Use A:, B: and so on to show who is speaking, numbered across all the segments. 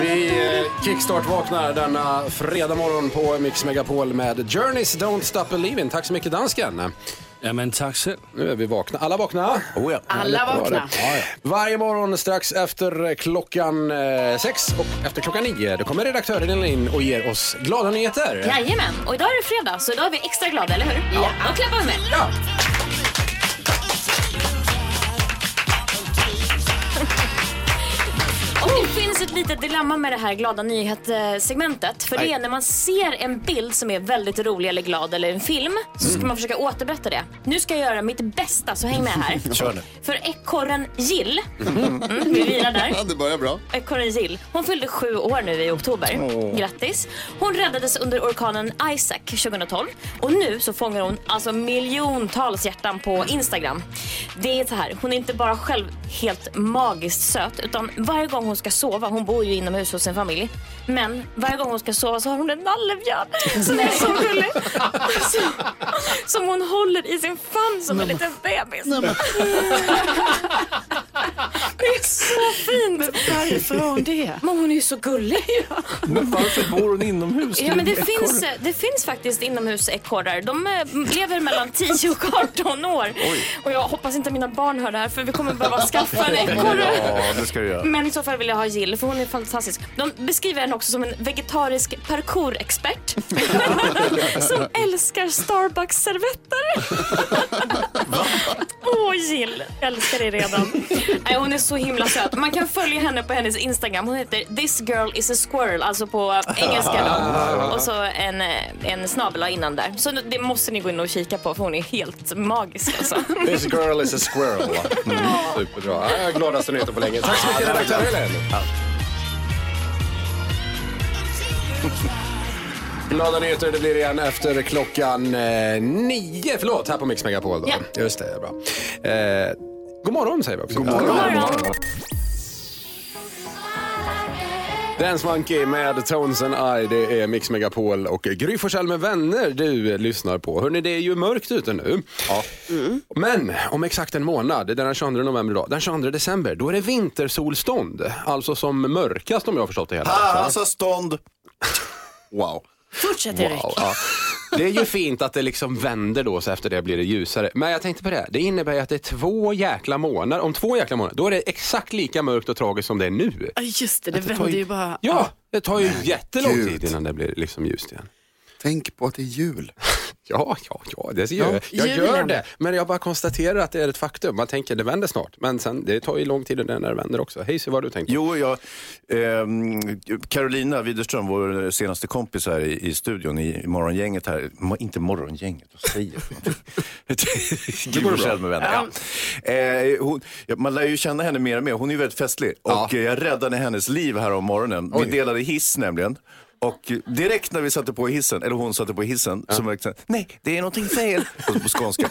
A: Vi eh, kickstart-vaknar denna fredag morgon på Mix Megapol med Journeys Don't Stop Believin'. Tack så mycket dansken.
B: Ja, men tack själv.
A: Nu är vi vakna. Alla vakna?
C: Oh, ja.
D: Alla vakna.
A: Varje morgon strax efter klockan eh, sex och efter klockan nio då kommer redaktören in och ger oss glada nyheter.
D: Jajamän, och idag är det fredag så idag är vi extra glada, eller hur? Ja. Då klappar vi med.
A: Ja.
D: Och det finns ett litet dilemma med det här glada nyhetssegmentet. För det är när man ser en bild som är väldigt rolig eller glad eller en film så ska man försöka återberätta det. Nu ska jag göra mitt bästa så häng med här.
B: Kör nu.
D: För ekorren Jill, mm, vi vilar där.
C: Ja, det börjar bra.
D: Ekorren Jill. Eh, Hon fyllde sju år nu i oktober. Grattis! Hon räddades under orkanen Isaac 2012 och nu så fångar hon alltså miljontals hjärtan på Instagram. Det är så här, hon är inte bara själv helt magiskt söt utan varje gång hon ska sova, hon bor ju inomhus hos sin familj, men varje gång hon ska sova så har hon en nallebjörn som är så gullig. Som, som hon håller i sin famn som en liten bebis. Det är så fint!
E: Varför har hon det?
D: Men hon är ju så gullig.
B: Men varför bor hon inomhus?
D: Ja, men det, finns, det finns faktiskt inomhusekorrar. De eh, lever mellan 10 och 18 år. Och jag hoppas inte mina barn hör det här för vi kommer behöva skaffa en ekorre.
C: Ja, det ska du göra.
D: Men i så fall vill jag ha Jill för hon är fantastisk. De beskriver henne också som en vegetarisk parkourexpert som älskar Starbucks-servetter. Åh Jill, jag älskar dig redan. Nej, hon är så himla söt. Man kan följa henne på hennes Instagram. Hon heter This girl is a squirrel, alltså på engelska då. Och så en, eh, en snabel innan där. Så det måste ni gå in och kika på för hon är helt magisk alltså.
A: This girl is a squirrel. Mm. Superbra. Ja, Gladaste nyheten på länge. Tack så mycket redaktör Helen. Glada nyheter det blir igen efter klockan eh, nio. Förlåt, här på Mix Megapol. Då.
D: Ja.
A: Just det, bra. Eh, god morgon säger vi också. God
C: morgon. God
D: morgon.
A: Dance Monkey med Tones and I, det är Mix Megapol och Gry Forssell med vänner du lyssnar på. Hörrni, det är ju mörkt ute nu. Ja. Men om exakt en månad, det är den 22 november idag, den 22 december, då är det vintersolstånd. Alltså som mörkast om jag har förstått det hela.
F: Ah!
C: Alltså stånd.
A: Wow.
D: Fortsätt
A: Wow, ja. Det är ju fint att det liksom vänder då, så efter det blir det ljusare. Men jag tänkte på det, här. det innebär ju att det är två jäkla månader, om två jäkla månader, då är det exakt lika mörkt och tragiskt som det är nu.
G: Ja just det, det vänder ju bara.
A: Ja, det tar ju jättelång
C: gud.
A: tid innan det blir liksom ljust igen.
C: Tänk på att det är jul.
A: Ja, ja, ja, det gör jag. Jag
G: julen.
A: gör det, men jag bara konstaterar att det är ett faktum. Man tänker det vänder snart, men sen, det tar ju lång tid innan det vänder också. Hej, så vad har du tänkt?
F: Jo, jag, ehm, Carolina Widerström, vår senaste kompis här i, i studion i i morgongänget här. Ma, inte morgongänget, vad säger jag? för någonting? Gud, vad själv med vänner. Ja. Eh, hon, ja, man lär ju känna henne mer och mer. Hon är ju väldigt festlig. Och eh, jag räddade hennes liv här om morgonen. Vi delade hiss nämligen. Och eh, direkt när vi satte på hissen, eller hon satte på hissen, så märkte jag nej, det är någonting fel. Och på skånska.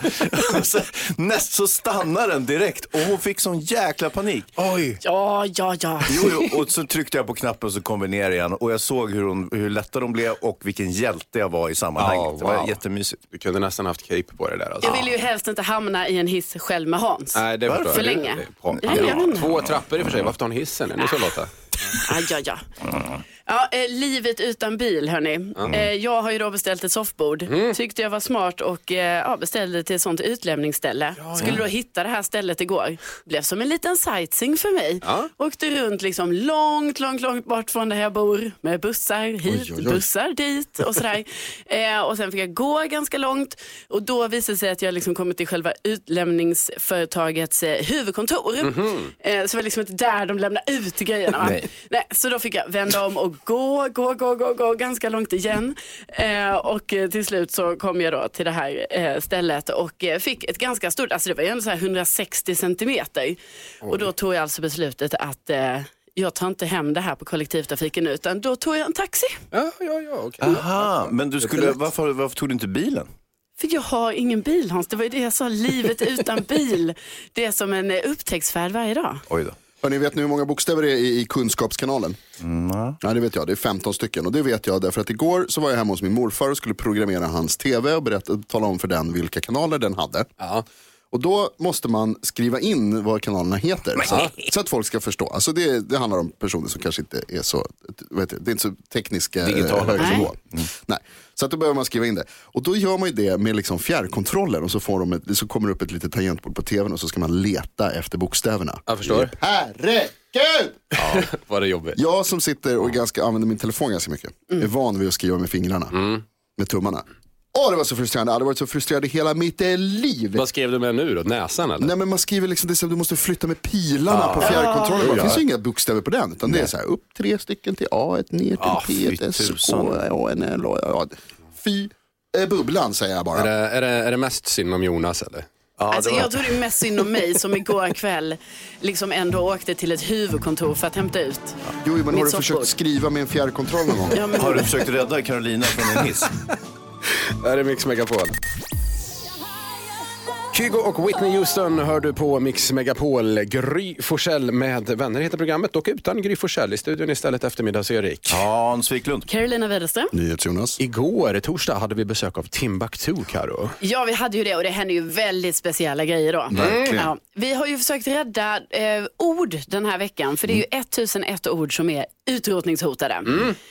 F: Och så, näst så stannar den direkt och hon fick sån jäkla panik.
C: Oj.
G: Ja, ja, ja.
F: Jo, jo, och så tryckte jag på knappen så kom vi ner igen och jag såg hur, hon, hur lätta de blev och vilken hjälte jag var i sammanhanget.
A: Ja,
F: Det var
A: wow.
F: jättemysigt.
A: Du kunde nästan haft cape på det där. Alltså.
G: Jag vill ju helst inte hamna i en hiss själv med Hans.
A: Nej, det förstår
G: För
A: jag.
G: länge.
A: Det är bra.
G: Ja, jag vet inte. Äh.
A: Två trappor i och för sig, varför tar hon hissen? Är ni så Lotta?
G: Aj, aj, aj.
A: Mm.
G: Ja, eh, livet utan bil, hörni. Eh, jag har ju då beställt ett soffbord.
A: Mm.
G: Tyckte jag var smart och eh, ja, beställde till ett sånt utlämningsställe. Skulle då hitta det här stället igår. Blev som en liten sightseeing för mig.
A: Ja.
G: Åkte runt liksom långt, långt, långt bort från där jag bor. Med bussar hit, bussar dit och sådär. eh, och sen fick jag gå ganska långt. Och då visade det sig att jag liksom kommit till själva utlämningsföretagets eh, huvudkontor. eh, så det var liksom inte där de lämnar ut grejerna. va?
F: Nej.
G: Nej, så då fick jag vända om och gå, gå, gå, gå, gå ganska långt igen. Eh, och eh, till slut så kom jag då till det här eh, stället och eh, fick ett ganska stort, alltså det var ju ändå så här 160 centimeter. Och då tog jag alltså beslutet att eh, jag tar inte hem det här på kollektivtrafiken utan då tog jag en taxi.
A: Ja, ja, ja, okej.
F: Aha, men du skulle, varför, varför tog du inte bilen?
G: För jag har ingen bil Hans, det var ju det jag sa, livet utan bil. Det är som en eh, upptäcktsfärd varje dag.
F: Oj då.
C: Hörrni, vet ni hur många bokstäver det är i, i kunskapskanalen? Ja, det vet jag. Det är 15 stycken. Och det vet jag därför att igår så var jag hemma hos min morfar och skulle programmera hans TV och berätta, tala om för den vilka kanaler den hade.
A: Ja.
C: Och då måste man skriva in vad kanalerna heter. Så, så att folk ska förstå. Alltså det, det handlar om personer som kanske inte är så, vad heter det, det är inte så tekniska
F: Digitala.
C: hög nivå. Nej. Så att då behöver man skriva in det. Och då gör man ju det med liksom fjärrkontrollen och så, får de ett, så kommer det upp ett litet tangentbord på tvn och så ska man leta efter bokstäverna.
A: Jag förstår.
C: Herregud!
A: Var det jobbigt?
C: Jag som sitter och ganska, använder min telefon ganska mycket är van vid att skriva med fingrarna, med tummarna. Åh, det var så frustrerande. Jag hade varit så frustrerad i hela mitt eh, liv.
A: Vad skrev du med nu då? Näsan eller?
C: Nej men man skriver liksom, det är som du måste flytta med pilarna på fjärrkontrollen. Det finns ju inga bokstäver på den. Utan det är så här, upp tre stycken till A, ett ner till
F: Ah,
C: P,
F: fy
C: ett SK,
F: tusan.
C: A, N, L, A, A. Fy eh, bubblan säger jag bara.
A: Är, det, är, det, är det mest synd om Jonas eller?
G: alltså, Jag tror det är mest synd om mig som igår kväll liksom ändå åkte till ett huvudkontor för att hämta ut.
C: Jo, men har
G: Mitt
C: du
G: soffbord.
C: försökt skriva med en fjärrkontroll någon gång?
G: Ja, men,
F: Har du försökt rädda Carolina från en hiss?
A: Är det Mix Megapol? Kygo och Whitney Houston hör du på Mix Megapol. Gry Forssell med vänner heter programmet, dock utan Gry Forssell. I studion istället eftermiddags-Erik.
F: Hans Wiklund.
G: Carolina Widerström.
C: NyhetsJonas.
A: Igår, torsdag, hade vi besök av Timbuktu, Karo.
G: Ja, vi hade ju det och det hände ju väldigt speciella grejer då. Ja, vi har ju försökt rädda eh, ord den här veckan för det är ju 1001 ord som är utrotningshotade.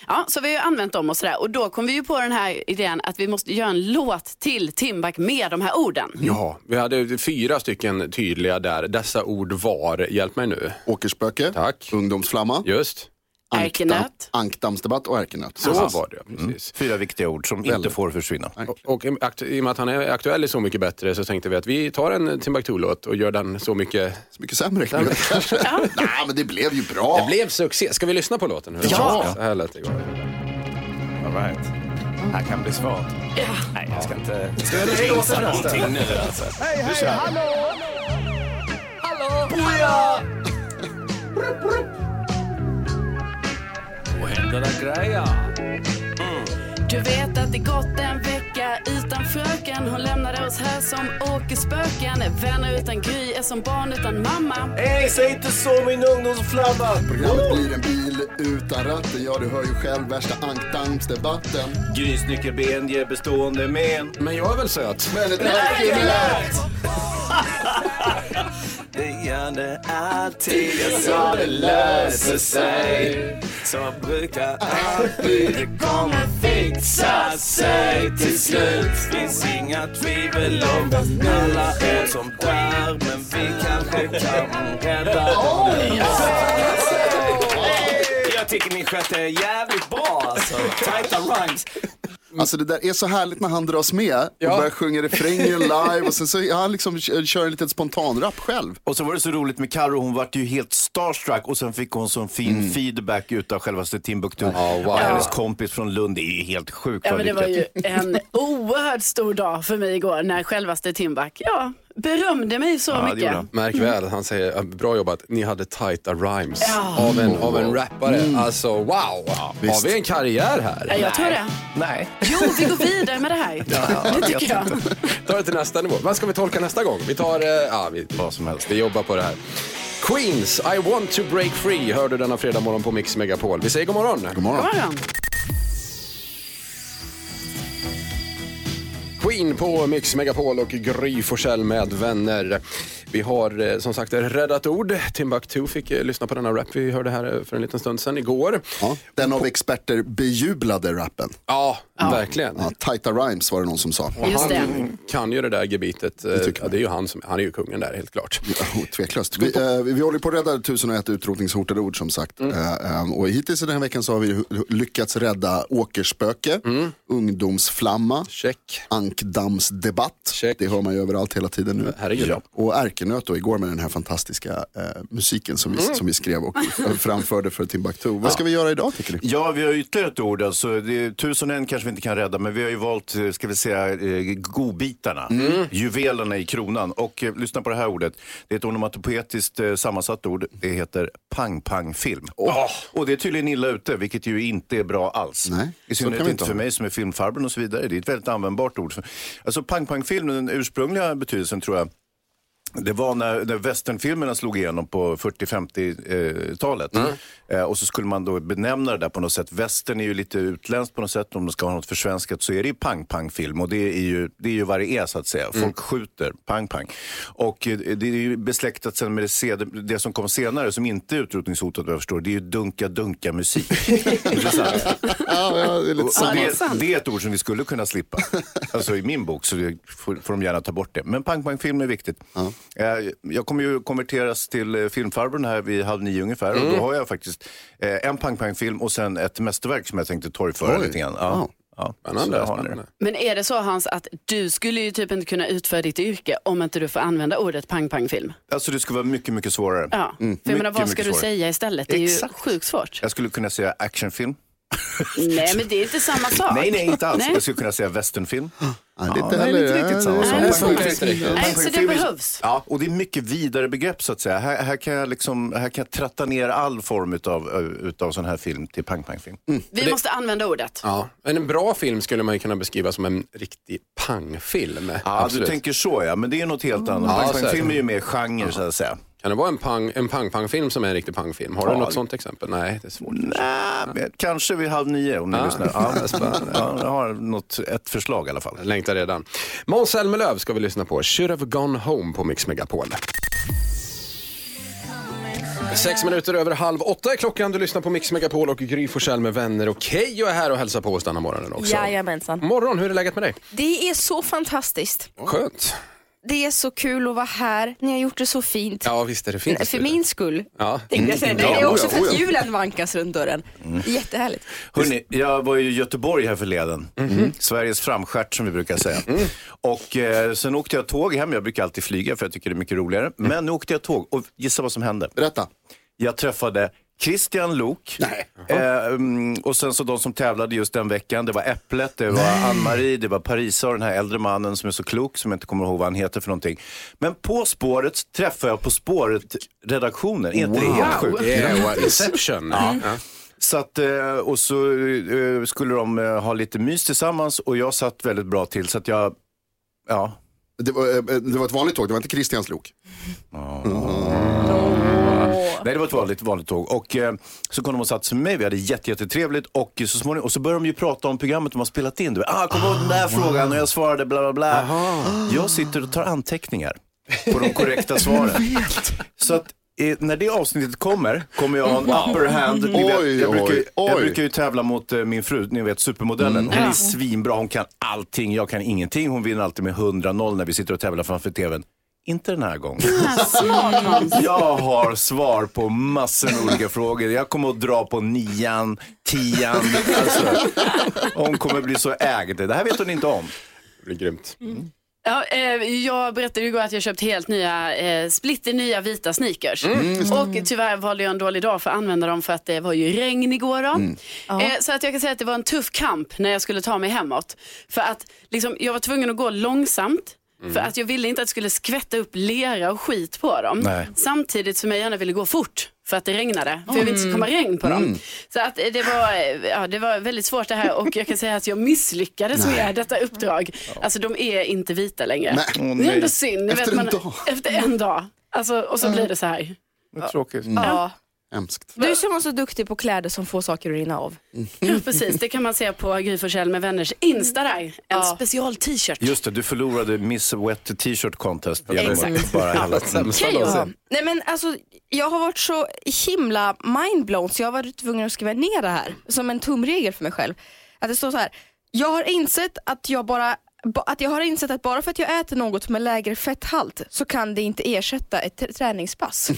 G: Ja, så vi har ju använt dem och sådär och då kom vi ju på den här idén att vi måste göra en låt till Timbuk med de här orden.
A: Ja, vi hade fyra stycken tydliga där. Dessa ord var, hjälp mig nu.
C: Åkerspöke,
A: Tack.
C: Ungdomsflamma,
A: Just,
G: Erkenöt.
C: Ankdammsdebatt och Erkenöt.
A: så var det. Precis.
F: Fyra viktiga ord som inte får försvinna.
A: Och i- akt- i och med att han är aktuell i Så mycket bättre så tänkte vi att vi tar en Timbuktu-låt och gör den så mycket...
C: Så mycket sämre kan jag kanske. Nej, men det blev ju bra.
A: Det blev succé. Ska vi lyssna på låten? Hur
C: Ja.
A: Så här lät det igår.
F: All right. Här kan bli svårt. Nej, jag ska inte... Ska jag inte jinxa någonting nu alltså?
B: Och händer det grejer.
G: Du vet att det gått en vecka utan fröken Hon lämnade oss här som åkerspöken Vänner utan Gry är som barn utan mamma
F: Nej, säg inte så min ungdomsflamma!
C: Programmet blir en bil utan ratten. Ja, du hör ju själv värsta ankdammsdebatten.
F: Grys nyckelben ger bestående men.
A: Men jag är väl söt?
C: Men ett ärkemelär.
F: Det gör det alltid. Jag sa det löser sig. Så brukar alltid. Det kommer fixa sig till slut. Finns inga tvivel om alla är som där. Men vi kanske kan rädda dem. Jag tycker min stjärt är jävligt bra alltså. Tajta rhymes.
C: Alltså det där är så härligt när han dras med och
A: Ja.
C: börjar sjunga refrängen live och sen så ja, han liksom k- kör en liten spontanrap själv.
F: Och så var det så roligt med Karo, hon vart ju helt starstruck och sen fick hon sån fin feedback utav självaste Timbuktu.
A: wow.
F: Och hennes kompis från Lund, det är ju helt sjukt
G: Ja
F: vad
G: men det var ju
F: lyckat.
G: en oerhört stor dag för mig igår när självaste Timbuk, ja, berömde mig så
F: det
G: mycket.
F: gjorde han.
A: Märk väl, han säger "Ah, bra jobbat, ni hade tajta rhymes av, en, av en rappare. Alltså wow, har vi en karriär
G: Ja,
A: här?
G: jag tror det.
F: Nej.
G: Jo, vi går vidare med det här. det tycker jag.
A: Ta det till nästa nivå. Vad ska vi tolka nästa gång? Vi tar, eh, ja vi,
F: Vad som helst.
A: vi jobbar på det här. Queens, I want to break free, hör du denna fredag morgon på Mix Megapol. Vi säger god morgon.
C: God morgon.
G: God morgon.
A: Queen på Mix Megapol och Gry Forssell med vänner. Vi har eh, som sagt räddat ord. Timbuktu fick eh, lyssna på denna rap vi hörde här eh, för en liten stund sedan igår.
C: Ja. Den av experter bejublade rappen.
A: Ja, verkligen.
C: Ja, tajta rhymes var det någon som sa.
G: Just det.
A: Han kan ju det där gebitet. eh,
C: tycker
A: Ja, det är ju han, som, han är ju kungen där helt klart.
C: Oh, tveklöst. Vi, eh, vi håller på att rädda 1001 utrotningshotade ord som sagt. Eh, eh, och hittills i den här veckan så har vi hu- hu- lyckats rädda åkerspöke, ungdomsflamma,
A: Check.
C: ankdammsdebatt.
A: Check.
C: Det hör man ju överallt hela tiden nu.
A: Herregud.
C: Och Ekenöt då igår med den här fantastiska eh, musiken som vi, som vi skrev och framförde för Timbuktu. Vad ska vi göra idag tycker du?
F: Ja, vi har ytterligare ett ord. Alltså, det är, tusen och en kanske vi inte kan rädda, men vi har ju valt, eh, ska vi säga, eh, godbitarna. Juvelerna i kronan. Och eh, lyssna på det här ordet. Det är ett onomatopoetiskt eh, sammansatt ord. Det heter pang-pang-film. Och, och det är tydligen illa ute, vilket ju inte är bra alls.
C: Nej,
F: I
C: så kan
F: synnerhet
C: vi
F: inte
C: inte
F: för
C: ha.
F: mig som är filmfarbrorn och så vidare. Det är ett väldigt användbart ord. Alltså pang-pang-film, den ursprungliga betydelsen tror jag, det var när, när westernfilmerna slog igenom på 40-50-talet. Eh, och så skulle man då benämna det där på något sätt. Western är ju lite utländskt på något sätt. Om de ska ha något försvenskat så är det ju pang-pang-film. Och det är, ju, det är ju vad det är så att säga. Folk skjuter, pang-pang. Och eh, det är ju besläktat sen med det, sed- det som kom senare som inte är utrotningshotat vad jag förstår. Det är ju dunka-dunka-musik. Intressant.
C: Ja, ja, det är lite
F: Så
C: samma.
F: det, det är ett ord som vi skulle kunna slippa. Alltså i min bok så det, får, får de gärna ta bort det. Men pang-pang-film är viktigt. Eh, Jag kommer ju konverteras till eh, filmfarbrorn här vid halv nio ungefär.
C: Mm.
F: Och då har jag faktiskt eh, en pang-pang-film och sen ett mästerverk som jag tänkte torgföra
C: Oj.
F: lite grann. Ja.
C: Wow.
F: Ja. Så där
A: Spännande.
F: har ni det.
A: spännande.
G: Men är det så Hans att du skulle ju typ inte kunna utföra ditt yrke om inte du får använda ordet pang-pang-film?
F: Alltså det skulle vara mycket, mycket svårare.
G: Ja, för jag menar,
F: Mycket,
G: vad ska
F: mycket
G: du
F: svårare.
G: säga istället? Det är
F: Exakt.
G: ju sjukt svårt.
F: Jag skulle kunna säga actionfilm.
G: Nej, men det är inte samma sak.
F: Nej, nej, inte alls.
G: Nej.
F: Jag skulle kunna säga westernfilm.
C: Nej, det är
F: Ja,
C: inte
F: nej,
C: heller-
F: det är inte riktigt samma
C: nej,
F: sak.
C: nej,
F: Det funkar
C: nej.
F: inte riktigt.
G: Nej, så det
F: Film är-
G: behövs.
F: Ja, och det är mycket vidare begrepp så att säga. Här, här, kan, jag liksom, här kan jag tratta ner all form utav, eh, utav sån här film till pang-pang-film.
G: Vi måste använda ordet.
A: Ja. Men en bra film skulle man ju kunna beskriva som en riktig pangfilm.
F: Ja, du
A: Absolut.
F: tänker så ja, men det är något helt annat.
A: Ja,
F: Pang-pang-film
A: säkert.
F: är ju mer genre så att säga.
A: Kan det vara en pang- en pang-pang-film som är en riktig pangfilm? Har du
F: Ja.
A: något sånt exempel? Nej, det är svårt.
F: Nej, men kanske vid halv nio om ni
A: Ah,
F: lyssnar. Ja,
A: spännande.
F: ja, jag har något, ett förslag i alla fall.
A: Jag längtar redan. Måns Zelmerlöw ska vi lyssna på. Should have gone home på Mix Megapol. Sex minuter över halv åtta är klockan. Du lyssnar på Mix Megapol och Gry Forssell med vänner. Och Keyyo är här och hälsar på oss denna morgonen också.
H: Jajamensan.
A: Morgon, hur är läget med dig?
H: Det är så fantastiskt.
A: Skönt.
H: Det är så kul att vara här. Ni har gjort det så fint.
A: Ja, visst är det fint. i
H: För
A: studion.
H: min skull.
A: Ja.
H: Tänkte jag säga.
C: Mm, Ja, Mm.
H: Nej, det är också
C: oja,
H: för att
C: oja.
H: julen vankas runt dörren. Jättehärligt.
F: Hörrni, jag var ju i Göteborg här förleden. Sveriges framstjärt som vi brukar säga. Och eh, sen åkte jag tåg hem. Jag brukar alltid flyga för jag tycker det är mycket roligare. Men nu åkte jag tåg och gissa vad som hände.
C: Berätta.
F: Jag träffade Christian Lok. Eh, mm, och sen så de som tävlade just den veckan. Det var Äpplet, det var Ann-Marie, det var Parisa och den här äldre mannen som är så klok som jag inte kommer ihåg vad han heter för någonting. Men På spåret träffade jag På spåret-redaktionen. Är inte det helt sjukt?
A: Yeah, what Inception. Ja.
F: Så att, eh, och så eh, skulle de eh, ha lite mys tillsammans och jag satt väldigt bra till så att jag, ja.
C: Det var, eh, det var ett vanligt tåg, det var inte Christians lok.
F: Nej, det var ett vanligt, vanligt tåg. Och eh, så kom de och satte sig med mig, vi hade jätte- jättetrevligt och så småningom, och så började de ju prata om programmet de har spelat in. Du vet, ah, kom ihåg den där frågan och jag svarade bla bla bla. Jag sitter och tar anteckningar på de korrekta svaren. Så att eh, när det avsnittet kommer, kommer jag ha en upper hand. Ni vet,
C: Oj,
F: jag, brukar, ju-
C: oj, oj. Mm.
F: jag brukar ju tävla mot eh, min fru, ni vet supermodellen. Hon är svinbra, hon kan allting, jag kan ingenting. Hon vinner alltid med 100-0 när vi sitter och tävlar framför tvn. Inte den här gången. Jag har svar på massor med olika frågor. Jag kommer att dra på nian, tian. Alltså, hon kommer bli så ägd. Det här vet hon inte om.
A: Det blir grymt.
H: Mm.
G: Ja, eh, jag berättade ju igår att jag köpt helt nya, eh, splitter nya vita sneakers.
F: Mm.
G: Och tyvärr valde jag en dålig dag för att använda dem för att det var ju regn igår. Då.
F: Mm.
G: Eh, så att jag kan säga att det var en tuff kamp när jag skulle ta mig hemåt. För att liksom, jag var tvungen att gå långsamt.
F: Mm.
G: För att jag ville inte att det skulle skvätta upp lera och skit på dem.
F: Nej.
G: Samtidigt som jag gärna ville gå fort för att det regnade. För jag ville inte ska komma regn på dem. Så att eh, det, var, eh, ja, det var väldigt svårt det här och jag kan säga att jag misslyckades med detta uppdrag. Alltså de är inte vita längre.
C: Nej.
F: Åh,
G: Det är
F: nej.
G: ändå synd. Ni
C: Efter
G: vet, man,
C: en dag.
G: Efter en dag. Alltså, och så blir det så här.
F: Det är tråkigt.
H: Ja.
C: Hemskt.
H: Du som var så duktig på kläder som får saker att rinna av.
G: Ja, precis, det kan man se på Gry Forssell med vänners Insta där. En special t-shirt.
F: Just det, du förlorade Miss Wet T-shirt Contest. genom att
H: Exakt.
F: Bara hälla-
A: Sämsta
H: Okej, ja.
A: någonsin.
H: Nej men alltså, jag har varit så himla mindblown så jag har varit tvungen att skriva ner det här som en tumregel för mig själv. Att det står så här. Jag har insett att jag bara ba- att jag har insett att bara för att jag äter något med lägre fetthalt så kan det inte ersätta ett tr- träningspass.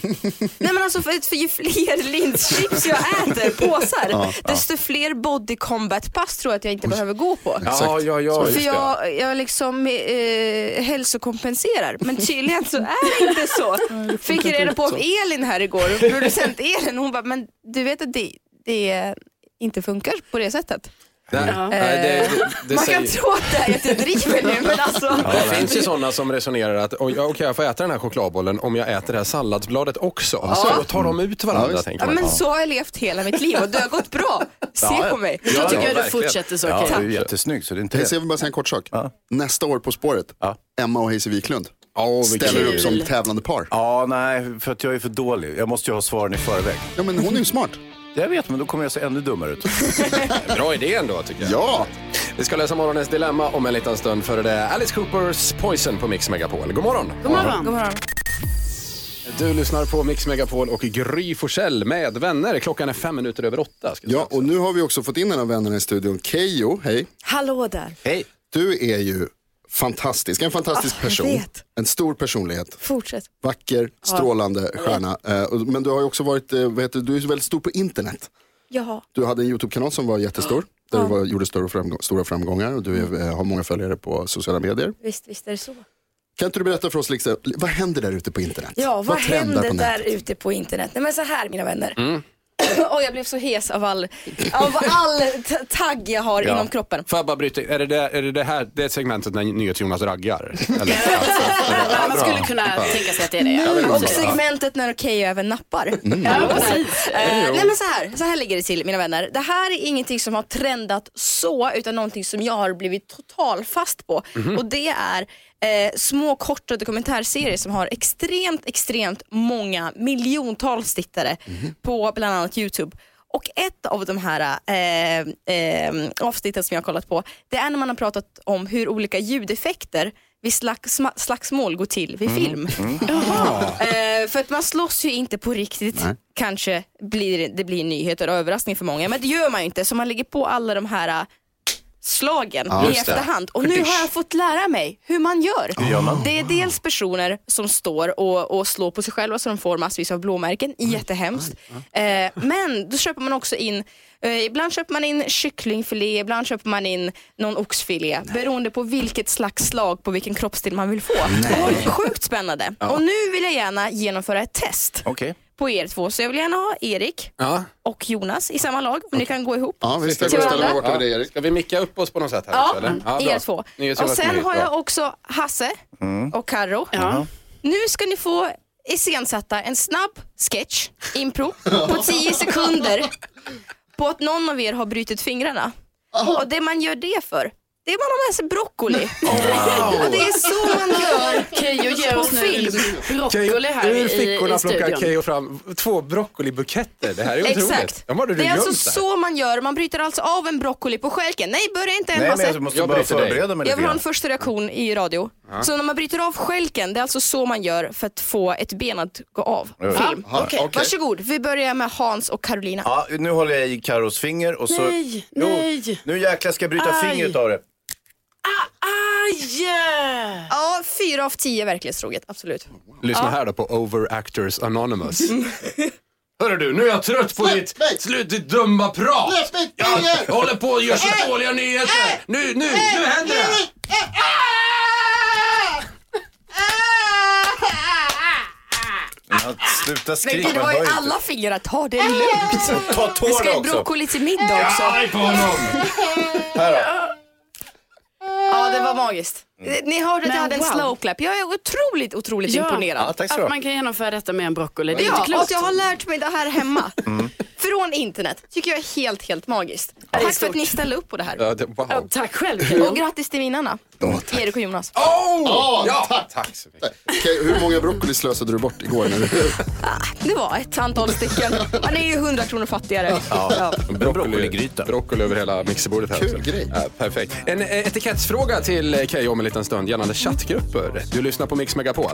H: Nej men alltså för, för ju fler linschips jag äter, påsar, desto fler body combat pass tror jag att jag inte behöver gå på.
A: Ja, ja, ja.
H: För
A: Just det.
H: jag, jag liksom eh, hälsokompenserar. Men tydligen så är det inte så. Fick jag reda på av Elin här igår, producent Elin, hon bara, men du vet att det, det inte funkar på det sättet.
A: Nej, nej, det, det, det
H: Man kan
A: säger...
H: tro att det är att jag driver nu men alltså.
A: Det finns ju sådana som resonerar att oj, ja, okej, jag får äta den här chokladbollen om jag äter det här salladsbladet också. Så då tar de ut
C: Ja,
A: varandra
C: visst.
A: tänker
H: Ja,
A: man.
H: men så har jag levt hela mitt liv och det har gått bra. Se
F: Ja,
H: på mig.
G: Jag tycker
F: ja,
G: att du
F: verkligen.
G: fortsätter så.
F: Ja,
G: Kid.
F: du är jättesnygg så det är inte
C: Hej, så jag vill bara säga en kort sak. Nästa år På spåret,
F: Ja.
C: Emma och Hayes Wiklund
A: Åh, vilken-
C: ställer upp som
G: kul.
C: tävlande par.
F: Ja, nej, för att jag är för dålig. Jag måste ju ha svaren i förväg.
C: Ja, men hon är ju smart.
F: Jag vet, men då kommer jag se ännu dummare ut.
A: Bra idé ändå tycker jag.
C: Ja,
A: Vi ska lösa morgonens dilemma om en liten stund före det. Alice Coopers Poison på Mix Megapol. God morgon!
G: God morgon.
H: God morgon.
A: Du lyssnar på Mix Megapol och Gry Forssell med vänner. Klockan är fem minuter över åtta. Ska jag
C: ja
A: säga.
C: och nu har vi också fått in en av vännerna i studion, Kejo. Hej.
H: Hallå där.
F: Hej!
C: Du är ju fantastisk, en fantastisk
H: Ah, jag
C: person.
H: vet.
C: En stor personlighet.
H: Fortsätt.
C: Vacker, strålande stjärna. Eh, och- Men du har ju också varit, eh, vad heter, det, du är ju väldigt stor på internet.
H: Jaha.
C: Du hade en YouTube-kanal som var jättestor. Där du var, gjorde stora, framgång, stora framgångar och du är, eh, har många följare på sociala medier.
I: Visst, visst är det så.
C: Kan inte du berätta för oss, liksom, vad händer där ute på internet?
I: Ja, vad, händer
C: trendar nätet?
I: där ute på internet? Nej men så här mina vänner.
H: Oj, jag blev så hes av all, av all t- tagg jag har inom kroppen.
A: Får jag bara bryta in? Är det det, är det, det här det segmentet när NyhetsJonas raggar? Eller?
G: Ja, Man skulle kunna tänka sig att det är det. ja.
H: Och segmentet när okej även nappar.
C: Mm.
G: Ja, precis.
H: Eh, nej men så här, så här ligger det till mina vänner. Det här är ingenting som har trendat så utan någonting som jag har blivit totalfast på. Och det är eh, små korta dokumentärserier som har extremt, extremt många miljontals tittare på bland annat Youtube. Och ett av de här eh, eh, avsnitten som jag har kollat på, det är när man har pratat om hur olika ljudeffekter vid slags, slagsmål går till vid film. Eh, för att man slåss ju inte på riktigt. Kanske blir, det blir nyheter och överraskning för många, men det gör man ju inte. Så man lägger på alla de här eh, slagen i efterhand. Och nu har jag fått lära mig hur man gör. Det är dels personer som står och, och slår på sig själva så de får massvis av blåmärken, jättehemskt. Eh, men då köper man också in eh, Ibland köper man in kycklingfilé, ibland köper man in någon oxfilé beroende på vilket slags slag på vilken kroppsdel man vill få. Sjukt spännande. Och nu vill jag gärna genomföra ett test
F: Okej.
H: på er två. Så jag vill gärna ha Erik
A: Ja.
H: och Jonas i samma lag, om ni kan gå ihop.
C: Ja, visst. Jag
H: Till
C: går och ställer mig
H: varandra.
C: borta vid dig Erik.
A: Ska vi micka upp oss på något sätt här? också,
H: Ja,
A: eller? bra.
H: er två.
A: NyhetsJonas
H: Och sen
A: nyhet,
H: har
A: bra.
H: jag också Hasse och Karo.
G: Ja.
H: Nu ska ni få iscensätta en snabb sketch, impro, på 10 sekunder på att någon av er har brutit fingrarna. Och det man gör det för, det är man har med sig broccoli. Och det är så man gör
G: Keyyo ger
H: på
G: oss nu
H: film.
G: broccoli här i,
A: Ur
G: i
A: fickorna plockar
G: studion.
A: Keyyo fram två broccolibuketter. Det här är otroligt.
H: Exakt.
A: De har du
H: det är alltså
A: gömt där.
H: så man gör, man bryter alltså av en broccoli på stjälken. Nej, börja inte än
F: Nej, men
H: Hasse.
F: jag måste
A: Jag
F: bara
A: bryter dig.
F: förbereda mig lite
H: Jag vill ha en
F: grann.
H: första reaktion i radio. Så när man bryter av skälken, det är alltså så man gör för att få ett ben att gå av.
F: Ja.
H: Film.
C: Aha,
H: Okej,
C: okej.
H: Varsågod, vi börjar med Hans och Carolina.
F: Ja, nu håller jag i Karos finger och så...
G: Nej,
F: Jo,
G: nej.
F: Nu jäklar ska jag bryta
G: Aj.
F: fingret av det.
G: Aj!
H: Ja, fyra av tio verklighetstroget, absolut.
A: Lyssna här då på Overactors Anonymous.
C: Mm.
A: Hörru du, nu är jag trött på ditt, slut ditt dumma prat. Jag håller på och gör så dåliga nyheter. Nu, nu, nu händer det.
F: Men, Sluta
H: Men
F: skrika,
H: gud, det var
F: hör
H: ju
F: inte.
H: alla fingrar, ta det lugnt.
F: Ta
H: Vi ska
F: tårna
H: ju
F: också.
H: broccoli till middag också.
A: Arg på honom.
H: Ja, det var magiskt.
F: Mm.
H: Ni hörde att jag
G: Men
H: hade en
G: wow.
H: slow clap. Jag är otroligt, otroligt
G: Ja.
F: Ja,
H: imponerad.
F: tack ska du ha.
G: Att man kan genomföra detta med en broccoli, det är
H: Ja,
G: inte
H: och att
G: klokt.
H: jag har lärt mig det här hemma.
F: Mm.
H: Från internet. Tycker jag är helt, helt magiskt. Tack för att ni ställde upp på det här.
A: Ja, det- Wow.
G: Tack själv Keyyo.
H: Och grattis till vinnarna. Erik och Jonas.
A: Oh!
C: Ja,
A: Ja,
C: tack.
A: tack så mycket.
C: Okej, hur många broccoli slösade du bort igår? När du...
H: Det var ett antal stycken. Man är ju 100 kronor fattigare. Ja.
F: broccoligryta.
A: Broccoli över hela mixerbordet här
C: Kul
A: också.
C: grej.
A: Ja, perfekt. En eh, etikettsfråga till eh, Keyyo om en liten stund gällande chattgrupper. Du lyssnar på Mix Megapol.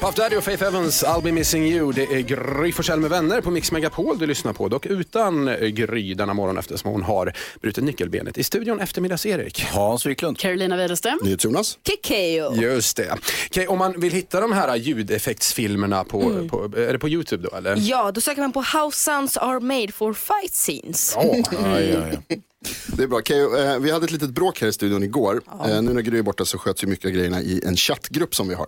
A: Puff Daddy och Faith Evans, I'll be missing you. Det är Gry Forssell med vänner på Mix Megapol du lyssnar på. Dock utan eh, Gry denna morgon eftersom hon har brutit nyckelbenet. I studion eftermiddags-Erik.
F: Hans Wiklund.
G: Carolina Widerström.
C: Mm. NyhetsJonas.
H: Kikeo.
A: Just det. Okej, om man vill hitta de här ljudeffektsfilmerna på, på, är det på Youtube då eller?
H: Ja, då söker man på How Sounds Are Made for Fight Scenes.
A: Ja.
F: Ja, ja, ja.
C: Det är bra. Keyyo, eh, vi hade ett litet bråk här i studion igår. Eh, nu när Gry är borta så sköts ju mycket av grejerna i en chattgrupp som vi har.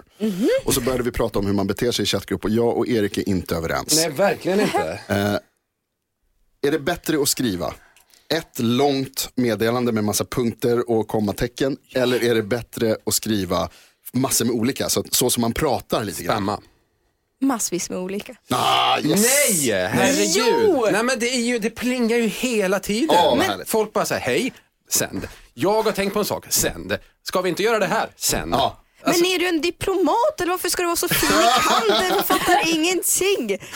C: Och så började vi prata om hur man beter sig i chattgrupp och jag och Erik är inte överens.
A: Nej, verkligen inte.
C: Är det bättre att skriva ett långt meddelande med massa punkter och kommatecken eller är det bättre att skriva massor med olika, så, så som man pratar lite grann?
A: Samma.
H: Massvis med olika.
C: Ah, yes.
A: Nej, herregud. Nej, men det, är ju, det plingar ju hela tiden.
C: Ja, vad
A: men
C: härligt.
A: folk bara säger hej, sänd. Jag har tänkt på en sak, sänd. Ska vi inte göra det här, sänd?
C: Ja.
H: Men är du en diplomat eller varför ska du vara så fin i kanten? Jag fattar ingenting.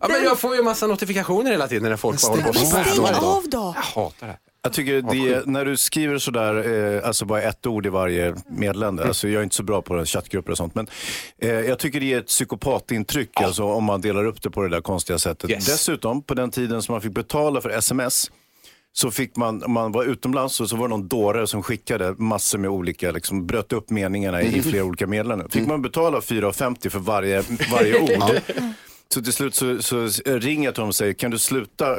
A: Ja, men jag får ju massa notifikationer hela tiden när folk bara håller på och
H: Men stäng
A: svär.
H: av då.
A: Jag hatar det. här.
F: Jag tycker det, när du skriver sådär, eh, alltså bara ett ord i varje meddelande. Alltså jag är inte så bra på det, chattgrupper och sånt. Men eh, jag tycker det ger ett psykopatintryck alltså, om man delar upp det på det där konstiga sättet.
A: Yes.
F: Dessutom, på den tiden som man fick betala för sms så fick man, om man var utomlands och så var det någon dåre som skickade massor med olika, liksom bröt upp meningarna i flera olika meddelanden. Fick man betala 4,50 för varje, varje ord. Så till slut så, så ringer jag till dem och säger, kan du sluta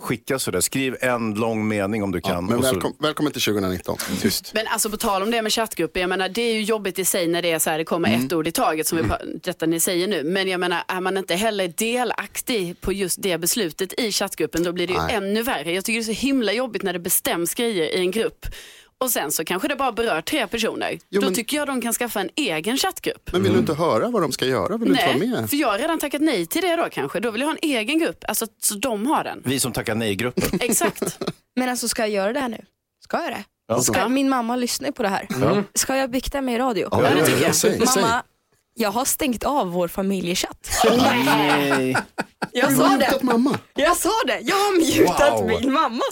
F: skicka sådär? Skriv en lång mening om du kan.
C: Men
F: och så,
C: välkom, välkommen till 2019. Tyst.
G: Men alltså på tal om det med chattgrupper, jag menar det är ju jobbigt i sig när det är så här, det kommer ett ord i taget som vi, pa- detta ni säger nu. Men jag menar, är man inte heller delaktig på just det beslutet i chattgruppen, då blir det ju
C: Nej.
G: ännu värre. Jag tycker det är så himla jobbigt när det bestäms grejer i en grupp. Och sen så kanske det bara berör tre personer. då
C: men-
G: tycker jag de kan skaffa en egen chattgrupp.
C: Men vill du inte höra vad de ska göra? Vill du inte vara med?
G: för jag har redan tackat nej till det då kanske. Då vill jag ha en egen grupp, alltså så de har den.
F: Vi som tackar nej i gruppen.
G: Exakt.
H: Men alltså ska jag göra det här nu? Ska jag det? Ska, min mamma lyssnar ju på det här. Ska jag bikta mig i radio?
C: Ja,
G: det
C: ja,
G: tycker
C: ja,
G: jag.
C: Säg,
H: Mamma, jag har stängt av vår familjechatt.
F: nej.
H: Jag
C: säg.
H: sa
C: Har du
H: det.
C: mutat mamma?
H: Jag sa det, jag har mutat
A: Wow.
H: min mamma.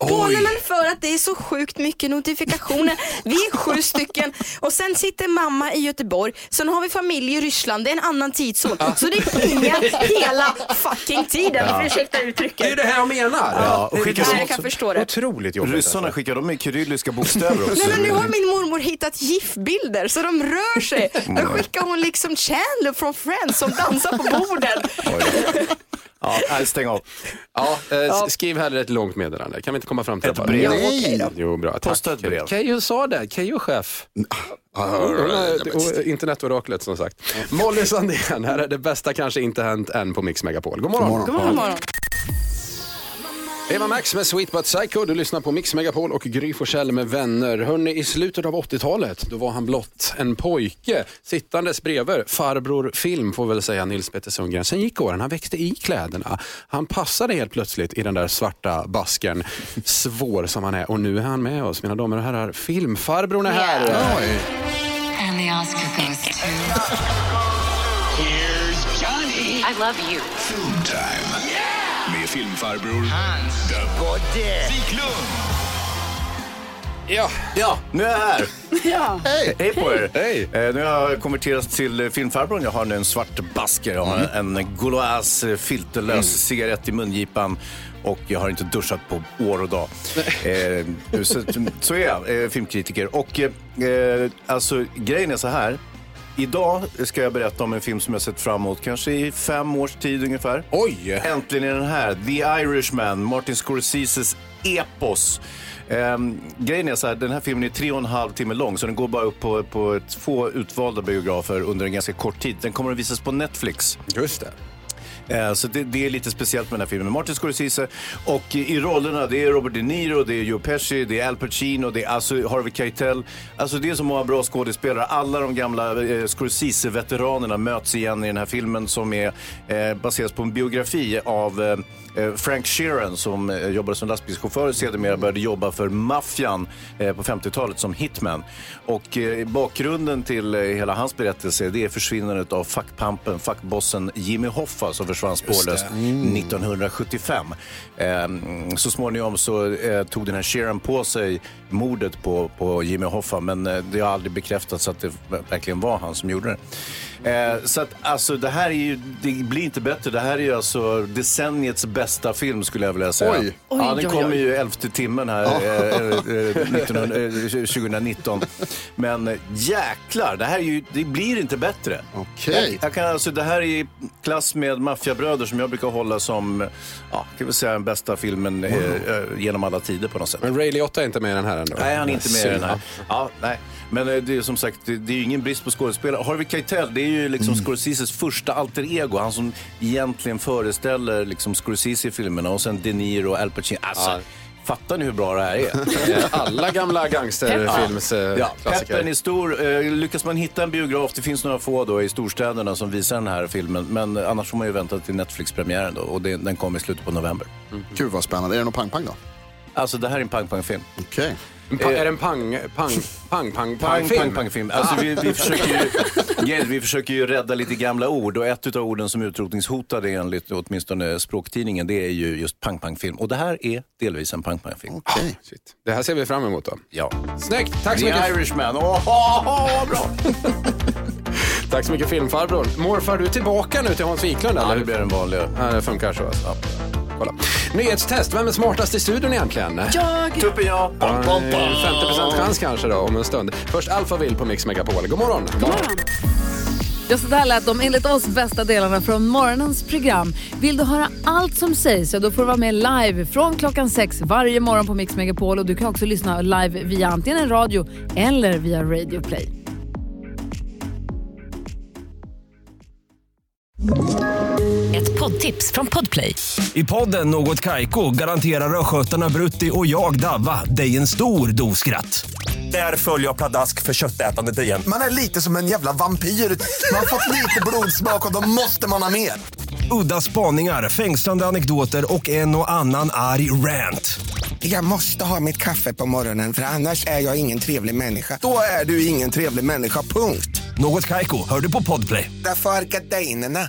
H: På, nej, men för att det är så sjukt mycket notifikationer. Vi är sju stycken och sen sitter mamma i Göteborg, sen har vi familj i Ryssland, det är en annan tidszon. Så det plingar hela fucking tiden.
A: Det
H: Ursäkta
A: är ju
H: uttrycket.
A: det här jag menar.
F: Ja, och
A: Det är
F: skicka
A: det som
H: Nej, jag kan
A: också-
H: förstå det.
A: Otroligt jobbigt.
F: Ryssarna
A: alltså.
F: skickar de med kyrilliska bokstäver också.
H: Nej, men nu har min mormor hittat GIF-bilder så de rör sig. Då skickar hon liksom Chandler från Friends som dansar på borden.
F: Ja, nej, stäng av.
A: Ja, eh, s- skriv hellre ett långt meddelande. Kan vi inte komma fram till
F: Ett
A: det bara?
F: brev.
C: Nej.
A: Jo, bra. Tack.
F: Posta ett brev.
A: Keyyo sa det. Keyyo chef.
C: Ah,
A: Hon är-
C: nej, men-
A: och Internetoraklet som sagt. Molly Sandén, här är det bästa kanske inte hänt än på Mix Megapol. God morgon.
C: morgon.
G: God morgon.
A: Eva Max med Sweet But Psycho. Du lyssnar på Mix Megapol och Gry Forssell med vänner. Hörrni, i slutet av 80-talet då var han blott en pojke sittandes bredvid farbror Film får väl säga Nils Petter Sundgren. Sen gick åren, han växte i kläderna. Han passade helt plötsligt i den där svarta basken. Svår som han är och nu är han med oss. Mina damer och herrar, Filmfarbrorn är här.
C: Oj.
J: And the Oscar goes to. Here's Johnny. I love you.
B: Med filmfarbror Hans Wiklund.
A: Ja.
F: Ja, nu är jag här.
G: Ja.
F: Hej, hej på er.
A: Hej.
F: Eh, nu har jag konverterat till eh, filmfarbrorn. Jag har nu en svart basker, jag har en Gauloise eh, filterlös cigarett i mungipan och jag har inte duschat på år och dag. Eh, så, så är jag eh, filmkritiker. Och eh, eh, alltså grejen är så här. Idag ska jag berätta om en film som jag sett fram emot kanske i fem års tid ungefär.
A: Oj!
F: Äntligen är den här. The Irishman, Martin Scorseses epos. Ehm, grejen är så här, den här filmen är tre och en halv timme lång så den går bara upp på, på ett få utvalda biografer under en ganska kort tid. Den kommer att visas på Netflix.
A: Just det.
F: Eh, Så det, det är lite speciellt med den här filmen. Martin Scorsese och i i rollerna det är Robert De Niro, det är Joe Pesci, det är Al Pacino, det är alltså Harvey Keitel. Alltså det är så många bra skådespelare. Alla de gamla eh, Scorsese-veteranerna möts igen i den här filmen som är eh, baseras på en biografi av eh, eh, Frank Sheeran som eh, jobbade som lastbilschaufför och sedermera började jobba för maffian eh, på 50-talet som hitman. Och eh, bakgrunden till eh, hela hans berättelse det är försvinnandet av fackpampen, fackbossen Jimmy Hoffa som försvann spårlöst
K: Mm.
F: 1975. Ehm, Så småningom så eh, tog den här Sheeran på sig mordet på, på Jimmy Hoffa men eh, det har aldrig bekräftats att det verkligen var han som gjorde det. Eh, Så att alltså det här är ju, det blir inte bättre. Det här är ju alltså decenniets bästa film skulle jag vilja säga.
C: Oj.
F: ja,
C: Oj,
F: den
C: oj,
F: kommer
C: oj.
F: ju elfte timmen här
C: Ja.
F: eh, eh, eh, 1900, eh, 2019. Men eh, jäklar, det här är ju, det blir inte bättre. Jag, jag kan, alltså, det här är i klass med Maffiabröder som jag brukar hålla som ja, kan vi säga, den bästa filmen eh, eh, genom alla tider på något sätt.
A: Men Ray Liotta är inte med i den här ändå.
F: Nej, han är inte med i den här.
A: Synd.
F: Ja, nej. Men eh, det är som sagt, det det är ju ingen brist på skådespelare. Harvey Keitel, det är ju liksom
A: Mm.
F: Scorseses första alter ego. Han som egentligen föreställer liksom Scorsese i filmerna. Och sen De Niro och Al Pacino. Alltså, fattar ni hur bra det här är?
A: Alla gamla gangsterfilms, eh,
F: Ja, ja.
A: klassiker.
F: Peppen är stor. Eh, Lyckas man hitta en biograf, det finns några få då i storstäderna som visar den här filmen. Men eh, annars får man ju vänta till Netflix-premiären då. Och det, den kommer i slutet på november.
C: Gud vad spännande. Är det någon pang-pang då?
F: Alltså det här är en pang-pang-film.
C: Okej.
A: En pa- Är det en pang, pang, pang, pang, pang,
F: Pang, pang, pang, film. Alltså, vi, vi, försöker ju, Gerd, vi försöker ju rädda lite gamla ord och ett av orden som är utrotningshotade enligt åtminstone språktidningen det är ju just pang, pang, film. Och det här är delvis en pang, pang, film.
C: Okej.
A: Det här ser vi fram emot då.
F: Ja.
A: Snyggt, tack så
F: The
A: mycket.
F: Irishman. Åh, åh, åh, bra.
A: Tack så mycket filmfarbror. Morfar, du är tillbaka nu till Hans Wiklund eller? Ja, det
F: blir den vanliga.
A: Ja, det funkar så. Alltså. Ja. Kolla. Nyhetstest, vem är smartast i studion egentligen?
G: Jag!
F: Tuppen jag!
A: Ja, 50% chans kanske då om en stund. Först Alphaville på Mix Megapol. God morgon! God morgon.
E: Just så där lät de enligt oss bästa delarna från morgonens program. Vill du höra allt som sägs så då får du vara med live från klockan sex varje morgon på Mix Megapol och du kan också lyssna live via antingen radio eller via Radio Play.
L: Ett poddtips från Podplay.
M: I podden Något Kaiko garanterar östgötarna Brutti och jag, Davva, dig en stor dos skratt. Där följer jag pladask för köttätandet igen.
N: Man är lite som en jävla vampyr. Man har fått lite blodsmak och då måste man ha mer.
M: Udda spaningar, fängslande anekdoter och en och annan arg rant.
N: Jag måste ha mitt kaffe på morgonen för annars är jag ingen trevlig människa. Då är du ingen trevlig människa, punkt.
M: Något Kaiko, hör du på Podplay.
N: Därför arkadeinerna.